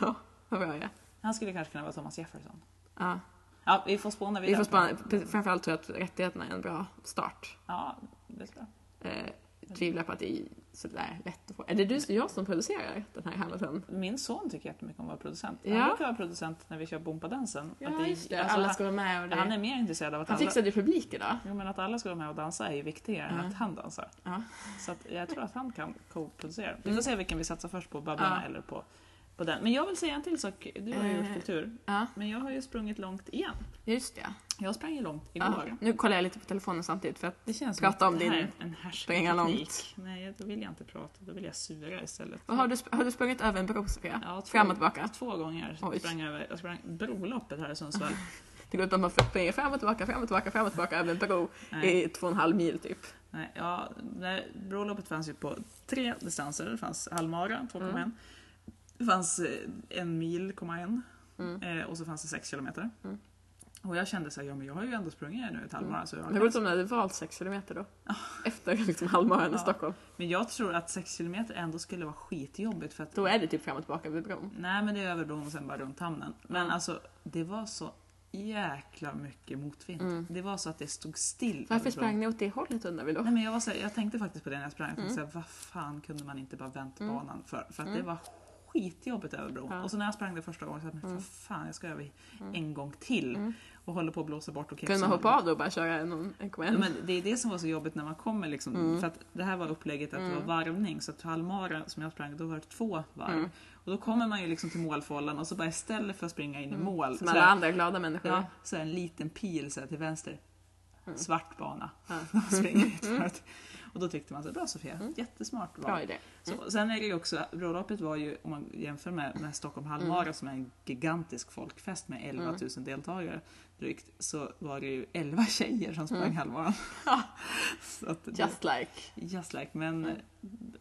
B: Ja, vad bra ja.
A: Han skulle kanske kunna vara Thomas Jefferson.
B: ja.
A: Ja, vi får spåna
B: Vi
A: vidare.
B: får spana, framförallt tror jag att rättigheterna är en bra start.
A: Ja, det tror jag.
B: Eh, tvivlar på att det är sådär lätt att få. Är det du, jag som producerar den här Hamilton?
A: Min son tycker jättemycket om att vara producent.
B: Ja.
A: Han brukar vara producent när vi kör Bompadansen. Att alltså,
B: Alla
A: han-
B: ska vara med och det.
A: Han
B: Han,
A: är mer intresserad av att
B: han
A: alla...
B: fixade ju publik idag.
A: Jo, men att alla ska vara med och dansa är ju viktigare än
B: Ja.
A: att han dansar.
B: Ja.
A: Så att jag tror att han kan co-producera. Vi får
B: Mm.
A: se vilken vi satsar först på, Babblarna
B: Ja.
A: eller på, på den. Men jag vill säga en till sak. Du har ju
B: Eh.
A: gjort kultur.
B: Ja,
A: Men jag har ju sprungit långt igen.
B: just det.
A: Jag sprang ju långt
B: Ja.
A: igår.
B: Nu kollar jag lite på telefonen samtidigt för att
A: Det känns
B: Prata
A: som
B: om
A: att det här
B: din
A: är en
B: springa
A: härskarteknik.
B: långt.
A: Nej, då vill jag inte prata. Då vill jag sura istället.
B: Vad har, du, sp- har du sprungit över en bro, Sofia?
A: Ja, två,
B: Fram och tillbaka?
A: Två gånger
B: Oj.
A: sprang jag över. Jag sprang Broloppet här i Sundsvall.
B: Det går ut att man springer fram och tillbaka, fram och tillbaka, fram och tillbaka över en bro
A: Nej.
B: i två och en halv mil typ.
A: Nej, ja, nej, Broloppet fanns ju på tre distanser. Det fanns halvmara, 2,1.
B: Mm.
A: Det fanns eh, en mil, 0,1.
B: Mm.
A: Eh, och så fanns det 6 kilometer.
B: Mm.
A: Och jag kände så här, ja men jag har ju ändå sprungit här nu ett halvmara. Så jag
B: Det
A: har Ah.
B: var som när du valt 6 kilometer då. Efter liksom halvmaran i
A: Ja.
B: Stockholm.
A: Men jag tror att 6 kilometer ändå skulle vara skitjobbigt. För att,
B: Då är det typ fram och tillbaka över bron.
A: Nej men det är över bron och sen bara runt hamnen. Men
B: Mm.
A: alltså det var så jäkla mycket motvind.
B: Mm.
A: Det var så att det stod still.
B: Varför
A: över bron.
B: sprang ni åt det hållet undrar vi
A: Nej,
B: då?
A: men jag, var så här, jag tänkte faktiskt på det när jag sprang. Jag tänkte
B: Mm.
A: så här, vad fan kunde man inte bara vänt
B: Mm.
A: banan för? För att det
B: Mm.
A: var skitjobbigt över bron.
B: Ja.
A: Och så när jag sprang det första gången så tänkte jag, men för fan jag ska över en gång till.
B: Mm.
A: Och håller på att blåsa bort och
B: Kunde man hoppa av då och bara köra någon
A: Ja,
B: 1,1?
A: Men det är det som var så jobbigt när man kommer. Liksom,
B: Mm.
A: För att det här var upplägget att det
B: Mm.
A: var varvning. Så att halvmara som jag sprang, då var det två varv.
B: Mm.
A: Och då kommer man ju liksom till målfållan och så bara istället för att springa in i mål
B: Mm. Som
A: så
B: alla
A: här-
B: andra glada människor.
A: Ja, så här en liten pil så här, till vänster.
B: Mm.
A: Svart bana.
B: Ja.
A: Man springer ut för att- Och då tyckte man så här, bra Sofia,
B: Mm.
A: jättesmart val.
B: Bra idé.
A: Så, sen är det ju också, bröllopet var ju, om man jämför med, med Stockholm halvmara
B: Mm.
A: som är en gigantisk folkfest med 11 000 deltagare drygt, så var det ju 11 tjejer som sprang
B: Mm.
A: halvmaran. så att det,
B: Just like.
A: just like, men
B: Mm.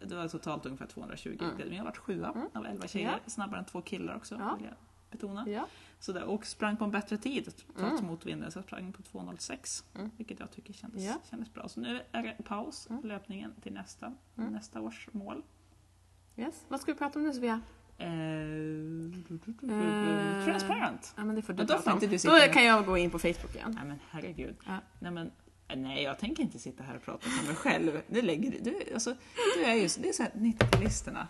A: det var totalt ungefär 220
B: Mm.
A: Men jag varit sjua
B: Mm.
A: av 11 tjejer, snabbare än två killar också
B: Ja.
A: vill jag betona.
B: Ja.
A: Så där, och sprang på en bättre tid trots
B: Mm.
A: motvinden, så jag sprang på 2.06
B: Mm.
A: vilket jag tycker kändes,
B: Ja.
A: kändes bra. Så nu är det paus,
B: Mm.
A: löpningen till nästa,
B: Mm.
A: nästa års mål.
B: Yes. Vad ska vi prata om nu Sofia?
A: Eh, Transparent!
B: Ja men det får du
A: Men då får
B: prata om.
A: inte du
B: Då
A: sitta-
B: kan jag gå in på Facebook igen.
A: Nej men herregud.
B: Ja.
A: Nej, men, nej, jag tänker inte sitta här och prata för mig själv. Du, lägger, du, alltså, du är ju så- det är såhär 90-talisterna.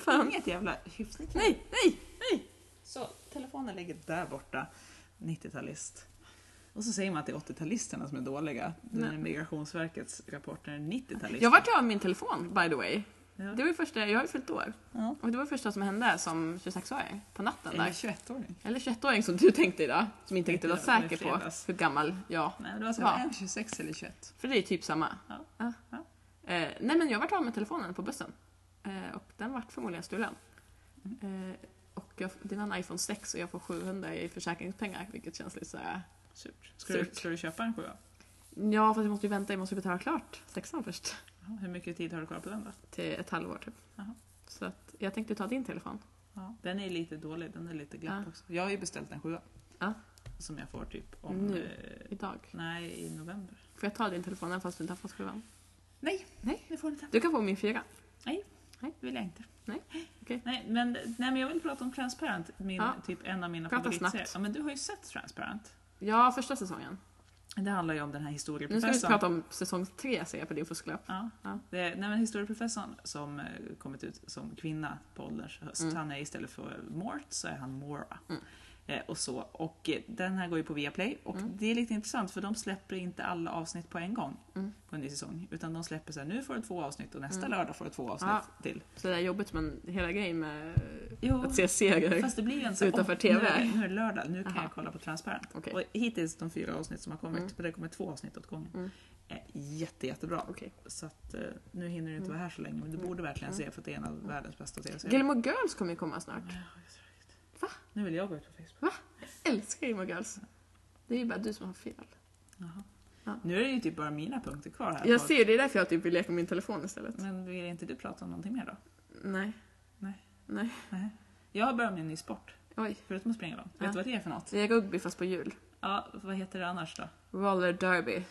B: Fan.
A: Inget jävla hyfs.
B: Nej, nej!
A: Så telefonen ligger där borta, 90-talist. Och så säger man att det är 80-talisterna som är dåliga. Men
B: Nej.
A: Migrationsverkets rapport är 90-talister.
B: Jag vart ju av med min telefon by the way.
A: Ja.
B: Det var ju första, jag har ju fyllt år.
A: Ja.
B: Och det var det första som hände som 26-åring på natten
A: Eller
B: där.
A: 21-åring.
B: Eller 21-åring som du tänkte idag, som inte riktigt var
A: Tänkte jag,
B: säker
A: men i
B: på
A: fredags.
B: hur gammal jag
A: Nej, det var så
B: Ja.
A: här, är jag 26 eller 21.
B: För det är typ samma.
A: Ja. Ja.
B: Eh, nej men jag vart av med telefonen på bussen. Eh, och den vart förmodligen stulen.
A: Mm.
B: Eh, och jag, det är en iPhone 6 och jag får 700 i försäkringspengar vilket känns lite såhär...
A: Surt. Ska, du,
B: Surt.
A: ska du köpa en sjua?
B: Ja fast jag måste ju vänta, jag måste ju betala klart sexan först.
A: Ja, Hur mycket tid har du kvar på den då?
B: Till ett halvår typ.
A: Jaha.
B: Så att jag tänkte ta din telefon.
A: Ja. Den är lite dålig, den är lite glapp
B: Ja.
A: också. Jag har ju beställt en sjua.
B: Ja.
A: Som jag får typ om...
B: Nu.
A: Eh,
B: Idag.
A: nej, i november.
B: Får jag ta din telefon även fast du inte har fått sjuan?
A: Nej,
B: Nej.
A: det får du inte.
B: Du kan få min fyra.
A: Det vill jag inte.
B: Nej, okej.
A: Nej, men, nej, men jag vill prata om Transparent, min,
B: Ja.
A: typ en av mina
B: Prata
A: favoritserier.
B: snabbt.
A: Ja, men du har ju sett Transparent.
B: Ja, första säsongen.
A: Det handlar ju om den här
B: Nu ska vi
A: historieprofessorn.
B: prata om säsong tre ser jag på din fusklapp.
A: Ja.
B: Ja.
A: Det är, nej, men historieprofessorn som eh, kommit ut som kvinna på ålderns höst,
B: Mm.
A: han är istället för Mort så är han Mora.
B: Mm.
A: Eh, och så. Och eh, den här går ju på Viaplay och det är lite intressant för de släpper inte alla avsnitt på en gång på en ny säsong. Utan de släpper så här, nu får du två avsnitt och nästa lördag får du två avsnitt
B: Ja.
A: till.
B: Så det är jobbigt men hela grejen med
A: Jo.
B: att se serier.
A: Fast det blir en sån,
B: Utanför
A: "Åh,
B: TV.
A: Nu, är det- nu är det lördag, nu kan
B: Aha.
A: jag kolla på Transparent.
B: Okej. Mm.
A: Och hittills de fyra avsnitt som har kommit, för det kommer två avsnitt åt gången. Eh, Jätte, jättebra.
B: Okej. Mm.
A: Så att, eh, nu hinner du inte vara här så länge, men du borde verkligen se för att det är en av världens bästa tv-serier.
B: Gilmore Girls kommer ju komma snart. Va?
A: Nu vill jag gå ut på Facebook.
B: Va? Jag älskar Gilmore Girls. Det är ju bara du som har fel.
A: Jaha.
B: Ja.
A: Nu är det ju typ bara mina punkter kvar här.
B: Jag
A: på-
B: ser, det är därför jag typ vill leka med min telefon istället.
A: Men vill inte du prata om någonting mer då?
B: Nej.
A: Nej.
B: Nej.
A: Nej. Jag börjar med en ny sport,
B: Oj.
A: förutom att springa då.
B: Ja.
A: Vet du vad det är för något?
B: Det är rugby fast på jul.
A: Ja, vad heter det annars då?
B: Roller derby.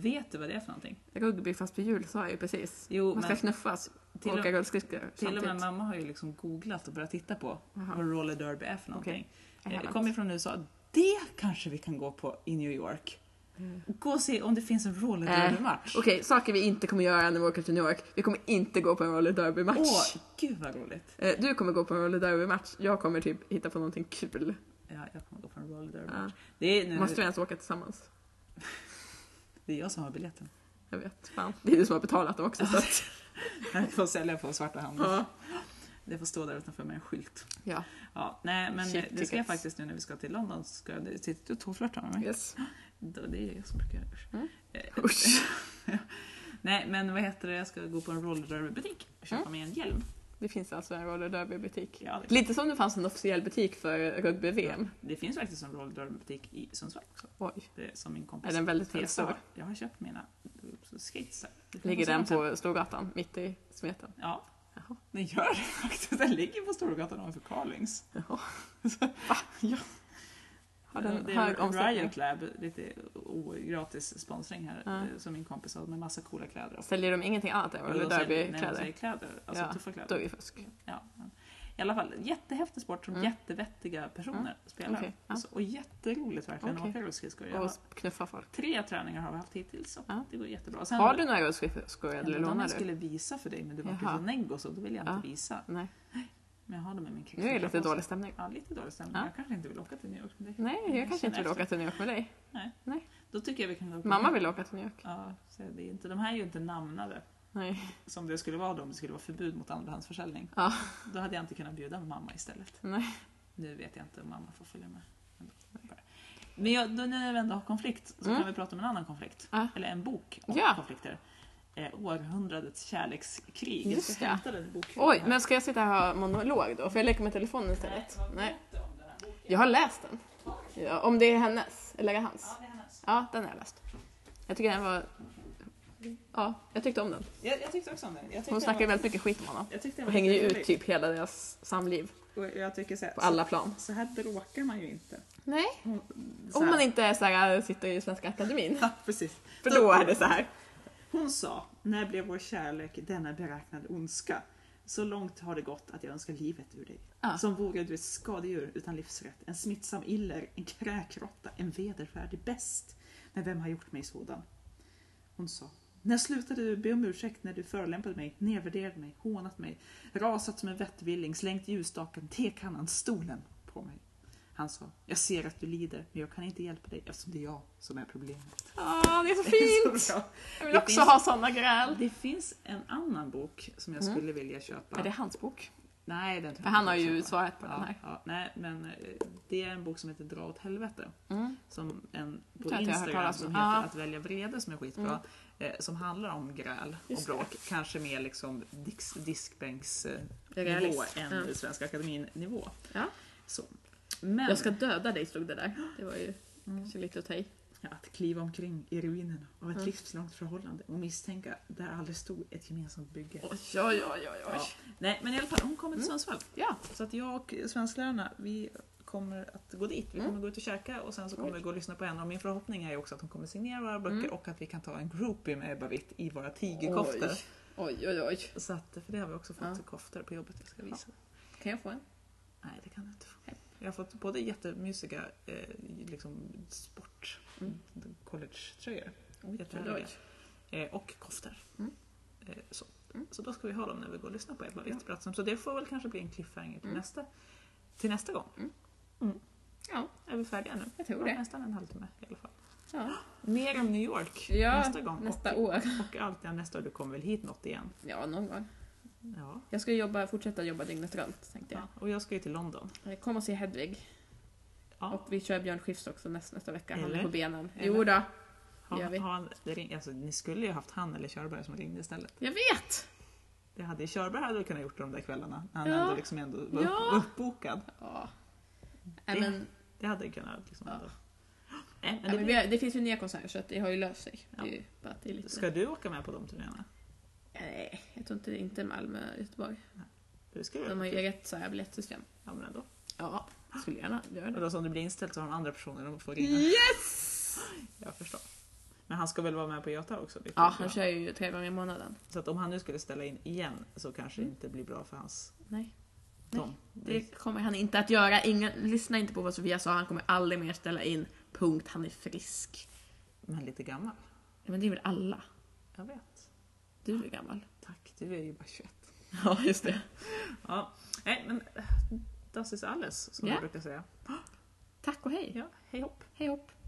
A: Vet du vad det är för någonting?
B: Rugby fast på jul sa jag ju precis.
A: Jo,
B: Man ska
A: men-
B: knuffas
A: Till
B: och
A: och-
B: åka rullskridskor
A: Till och med
B: samtidigt.
A: mamma har ju liksom googlat och börjat titta på
B: Aha.
A: vad roller derby är för någonting. Eh,
B: Vad
A: Okay.
B: härligt.
A: Kommer från USA. Det kanske vi kan gå på i New York. Gå och se om det finns en roller derby-match.
B: Eh, Okej, saker vi inte kommer göra när vi åker till New York. Vi kommer inte gå på en roller derby-match.
A: Åh, gud vad roligt.
B: Eh, Du kommer gå på en roller derby-match. Jag kommer typ hitta på någonting kul. Eh,
A: Ja, jag kommer gå på en roller derby-match. Det, är nu,
B: Måste vi ens åka tillsammans?
A: det är jag som har biljetten.
B: Jag vet. Fan. Det är du som har betalat dem också. Så att,
A: Jag får sälja på svarta handen.
B: ja.
A: Det får stå där utanför med en skylt.
B: ja.
A: Ja, nej, men
B: Shit,
A: det ska jag
B: tickets.
A: faktiskt nu när vi ska till London. så Ska jag, sitter du och tåflörtar med mig?
B: Yes.
A: Då- Det är jag som brukar göra usch.
B: Mm.
A: Eh,
B: Usch.
A: Nej, men vad heter det? Jag ska gå på en roller derby-butik och köpa
B: Mm.
A: mig en hjälm.
B: Det finns alltså en roller derby-butik.
A: Ja, det-
B: Lite som det fanns en officiell butik för rugby-VM.
A: Det finns faktiskt en roller derby-butik i Sundsvall också.
B: Oj.
A: Det är som min kompis
B: Är den väldigt, väldigt
A: Tessa har.
B: stor?
A: Jag har köpt mina eh, skates där. Det får
B: Ligger
A: man
B: den
A: säga
B: på Storgatan, mitt i smeten?
A: sen. Ja,
B: Jaha.
A: den gör det faktiskt. Den ligger på Storgatan ovanför Carlings.
B: Jaha. Har
A: Ja,
B: den
A: Eh, det
B: hög
A: är
B: omsättning?
A: Riot Lab, lite o- gratis sponsring här,
B: Ja.
A: eh, som min kompis har med massa coola kläder. och-
B: Säljer de ingenting annat än
A: Jo,
B: roller
A: de säljer- Nej, de
B: derby-kläder?
A: säljer kläder. Alltså
B: Ja,
A: tuffa kläder.
B: Då är det fusk.
A: Ja. men I alla fall, jättehäftig sport som
B: Mm.
A: jättevettiga personer spelar.
B: Okej, ja.
A: Så, och jätteroligt verkligen att
B: Okej.
A: åka rullskridskor. Jag
B: Och
A: har-
B: knuffa folk.
A: Tre träningar har vi haft hittills och
B: Ja.
A: det går jättebra. Sen,
B: Har du några rullskridskor
A: Ja,
B: eller
A: men de
B: lånar
A: jag
B: du?
A: skulle visa för dig men du var ju
B: Jaha.
A: så negg och så, då vill jag inte visa.
B: Nej.
A: Men jag har dem i min kex.
B: Nu är det lite dålig stämning.
A: Ja, lite dålig stämning.
B: Ja.
A: Jag kanske inte vill åka till New York med dig.
B: Nej, jag kanske inte vill
A: känner
B: åka till New York med dig.
A: Då tycker jag vi kan gå på-
B: Mamma vill åka till New York.
A: Ja, så det är inte, de här är ju inte namnade
B: Nej.
A: som det skulle vara då om det skulle vara förbud mot andrahandsförsäljning.
B: Ja.
A: Då hade jag inte kunnat bjuda mamma istället.
B: Nej.
A: Nu vet jag inte om mamma får följa med. ändå. Men jag, då när vi ändå har konflikt så
B: Mm.
A: kan vi prata om en annan konflikt.
B: Ja.
A: Eller en bok om
B: Ja.
A: konflikter. Eh, århundradets kärlekskrig.
B: Just
A: jag ska
B: det.
A: hämta den bokhyllan
B: Oj,
A: här.
B: men ska jag sitta här och ha monolog då? Får jag leka med telefonen istället? Nej. Jag har läst den. Ja, om det är hennes, eller är det
A: Ja,
B: hans?
A: det är hennes.
B: Ja, den har jag läst. Jag tycker den var... Ja, jag tyckte om den.
A: Jag, jag tyckte också om den. Jag tyckte
B: Hon
A: den
B: snackar ju
A: var-
B: väldigt mycket skit om honom.
A: Jag tyckte den
B: Och
A: var
B: hänger ju
A: jätterolig.
B: ut typ hela deras samliv
A: Och jag tycker så här,
B: på alla plan.
A: Så, så här bråkar man ju inte.
B: Nej.
A: Hon- så
B: Om
A: här.
B: man inte är så här, sitter i Svenska Akademin.
A: Ja, precis.
B: För då är det så här.
A: Hon sa, när blev vår kärlek denna beräknade ondska? Så långt har det gått att jag önskar livet ur dig.
B: Ja.
A: Som vore du ett skadedjur utan livsrätt, en smittsam iller, en kräkrotta, en vedervärdig best. Men vem har gjort mig sådan? Hon sa, när slutade du be om ursäkt när du förolämpade mig, nedvärderade mig, hånat mig, rasat som en vettvilling, slängt ljusstaken, tekannan, stolen på mig? Han sa, jag ser att du lider, men jag kan inte hjälpa dig eftersom det är jag som är problemet.
B: Ja, det är så
A: Det är
B: fint!
A: så bra.
B: Jag
A: Det
B: vill också
A: finns-
B: ha såna gräl.
A: Det finns en annan bok som jag skulle vilja köpa.
B: Mm. Är det hans bok?
A: Nej, den tror
B: För
A: jag
B: han
A: inte
B: har
A: jag
B: ju
A: köpa.
B: svarat på
A: ja,
B: den här.
A: Ja, nej, men eh, det är en bok som heter Dra åt helvete.
B: Mm.
A: Som en på
B: tror att jag har hört
A: Instagram
B: talas om.
A: som heter
B: Ja. Mm.
A: Att välja vrede som är skitbra. Eh, som handlar om gräl
B: Just det.
A: och bråk. Kanske mer liksom disk, diskbänksnivå
B: Realist.
A: än
B: Ja.
A: Svenska akademin nivå
B: Ja.
A: Så. Men
B: Jag ska döda dig stod det där. Det var ju kanske lite att ta i.
A: att kliva omkring i ruinerna av ett
B: Mm.
A: livslångt förhållande och misstänka där aldrig stod ett gemensamt bygge.
B: Oj, oj, oj, oj.
A: Ja. Nej, men i alla fall, hon kommer till
B: Mm.
A: Sundsvall.
B: Ja.
A: Så att jag och svensklärarna, vi kommer att gå dit.
B: Mm.
A: Vi kommer gå ut och käka och sen så kommer
B: Oj.
A: vi gå och lyssna på henne. Och min förhoppning är ju också att hon kommer signera våra böcker
B: Mm.
A: och att vi kan ta en groupie med Ebba Witt i våra tigerkoftor.
B: Oj, oj, oj. oj.
A: Så att, för det har vi också fått
B: Ja.
A: koftor på jobbet. Jag ska visa.
B: Kan jag få en?
A: Nej, det kan jag inte få. Jag har fått både jättemysiga eh, liksom sport
B: Mm.
A: college-tröjor.
B: Oj,
A: Jätteroliga. Eh, och koftor.
B: Mm.
A: Eh, så.
B: Mm.
A: så då ska vi ha dem när vi går och lyssnar på Ebba Witt-berättelsen. Så det får väl kanske bli en cliffhanger till, nästa, till nästa gång.
B: Mm.
A: Mm.
B: Ja,
A: Är vi färdiga nu?
B: jag tror
A: Ja,
B: det.
A: Nästan en halvtimme i alla fall.
B: Ja.
A: Mer om New York
B: Ja,
A: nästa gång.
B: Nästa
A: och,
B: år.
A: och allt det nästa år. Du kommer väl hit något igen?
B: Ja, någon gång.
A: Ja.
B: Jag ska jobba, fortsätta jobba dygnet runt, tänkte jag.
A: ja. Och jag ska ju till London.
B: Kom och se Hedvig.
A: Ja.
B: Och vi kör Björn Skifs också näst, nästa vecka. Han är
A: Eller?
B: på benen.
A: Eller?
B: Jo då,
A: Har-
B: gör vi.
A: har han, det ring, alltså, ni skulle ju haft han eller Körberg som ringde istället.
B: Jag vet!
A: Det hade ju Körberg hade väl kunnat gjort de där kvällarna. när Han
B: Ja.
A: ändå liksom ändå var upp,
B: Ja.
A: uppbokad.
B: Ja. Nej, men,
A: Det hade ju kunnat liksom
B: Ja.
A: ändå. Nej,
B: nej,
A: men det,
B: men vi har, det finns ju nya konserter så att det har ju löst sig. Det är ju bara att det är
A: blir-
B: lite...
A: ska du åka med på de turnéerna?
B: Nej, jag tror inte det. Inte Malmö och Göteborg.
A: Du ska
B: De har
A: ju
B: ju eget så här biljettsystem.
A: ja, men ändå.
B: Ja, jag skulle gärna göra
A: Och
B: det.
A: då som det blir inställt så har de andra personer de får ringa.
B: Mm. Yes!
A: Jag förstår. Men han ska väl vara med på Göta också? vilket
B: Ja,
A: är
B: han
A: bra.
B: kör ju tre gånger i månaden.
A: Så att om han nu skulle ställa in igen så kanske det inte blir bra för hans
B: Mm. Nej,
A: Tom.
B: det kommer han inte att göra. Ingen, lyssna inte på vad Sofia sa, han kommer aldrig mer ställa in. Punkt, han är frisk.
A: Men lite gammal.
B: Ja, Men det är väl alla?
A: Jag vet.
B: Du är gammal.
A: Tack, du är ju bara 21.
B: Ja, just det.
A: Ja. Nej, men das ist alles, som
B: Ja.
A: jag brukar säga.
B: Tack och hej.
A: Ja, hej hopp.
B: Hej hopp.